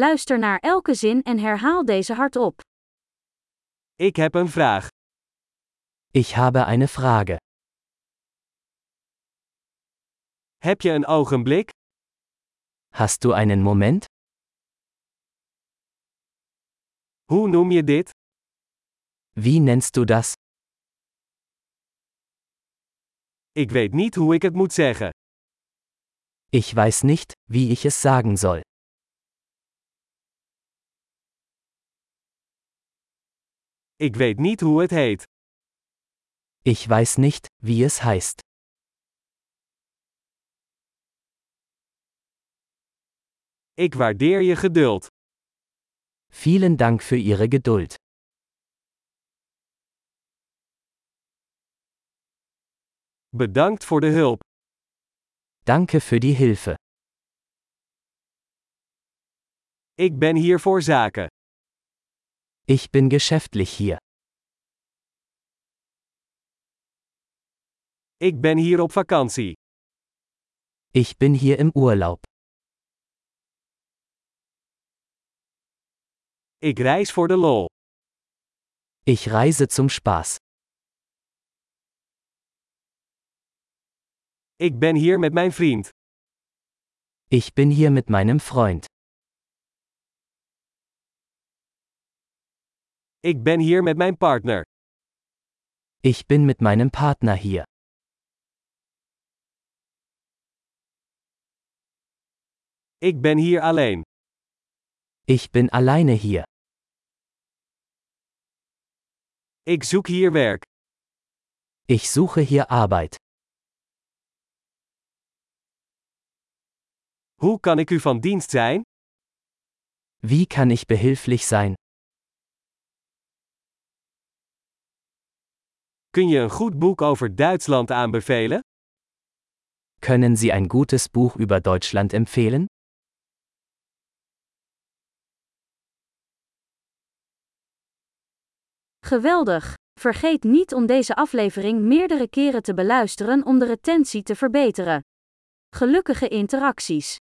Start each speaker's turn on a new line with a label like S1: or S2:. S1: Luister naar elke zin en herhaal deze hardop.
S2: Ik heb een vraag.
S3: Ich habe eine Frage.
S2: Heb je een ogenblik?
S3: Hast du einen Moment?
S2: Hoe noem je dit?
S3: Wie nennst du das?
S2: Ik weet niet hoe ik het moet zeggen.
S3: Ich weiß nicht, wie ich es sagen soll.
S2: Ik weet niet hoe het heet.
S3: Ich weiß nicht, wie es heißt.
S2: Ik waardeer je geduld.
S3: Vielen Dank für Ihre Geduld.
S2: Bedankt voor de hulp.
S3: Danke für die Hilfe.
S2: Ik ben hier voor zaken.
S3: Ich bin geschäftlich hier.
S2: Ik ben hier op vakantie.
S3: Ich bin hier im Urlaub.
S2: Ik reis voor de lol.
S3: Ich reise zum Spaß.
S2: Ik ben hier met mijn vriend.
S3: Ich bin hier mit meinem Freund.
S2: Ik ben hier met mijn partner.
S3: Ich bin mit meinem Partner hier.
S2: Ik ben hier alleen.
S3: Ich bin alleine hier.
S2: Ik zoek hier werk.
S3: Ich suche hier Arbeit.
S2: Hoe kan ik u van dienst zijn?
S3: Wie kann ich behilflich sein?
S2: Kun je een goed boek over Duitsland aanbevelen?
S3: Können Sie ein gutes Buch über Deutschland empfehlen?
S1: Geweldig! Vergeet niet om deze aflevering meerdere keren te beluisteren om de retentie te verbeteren. Gelukkige interacties!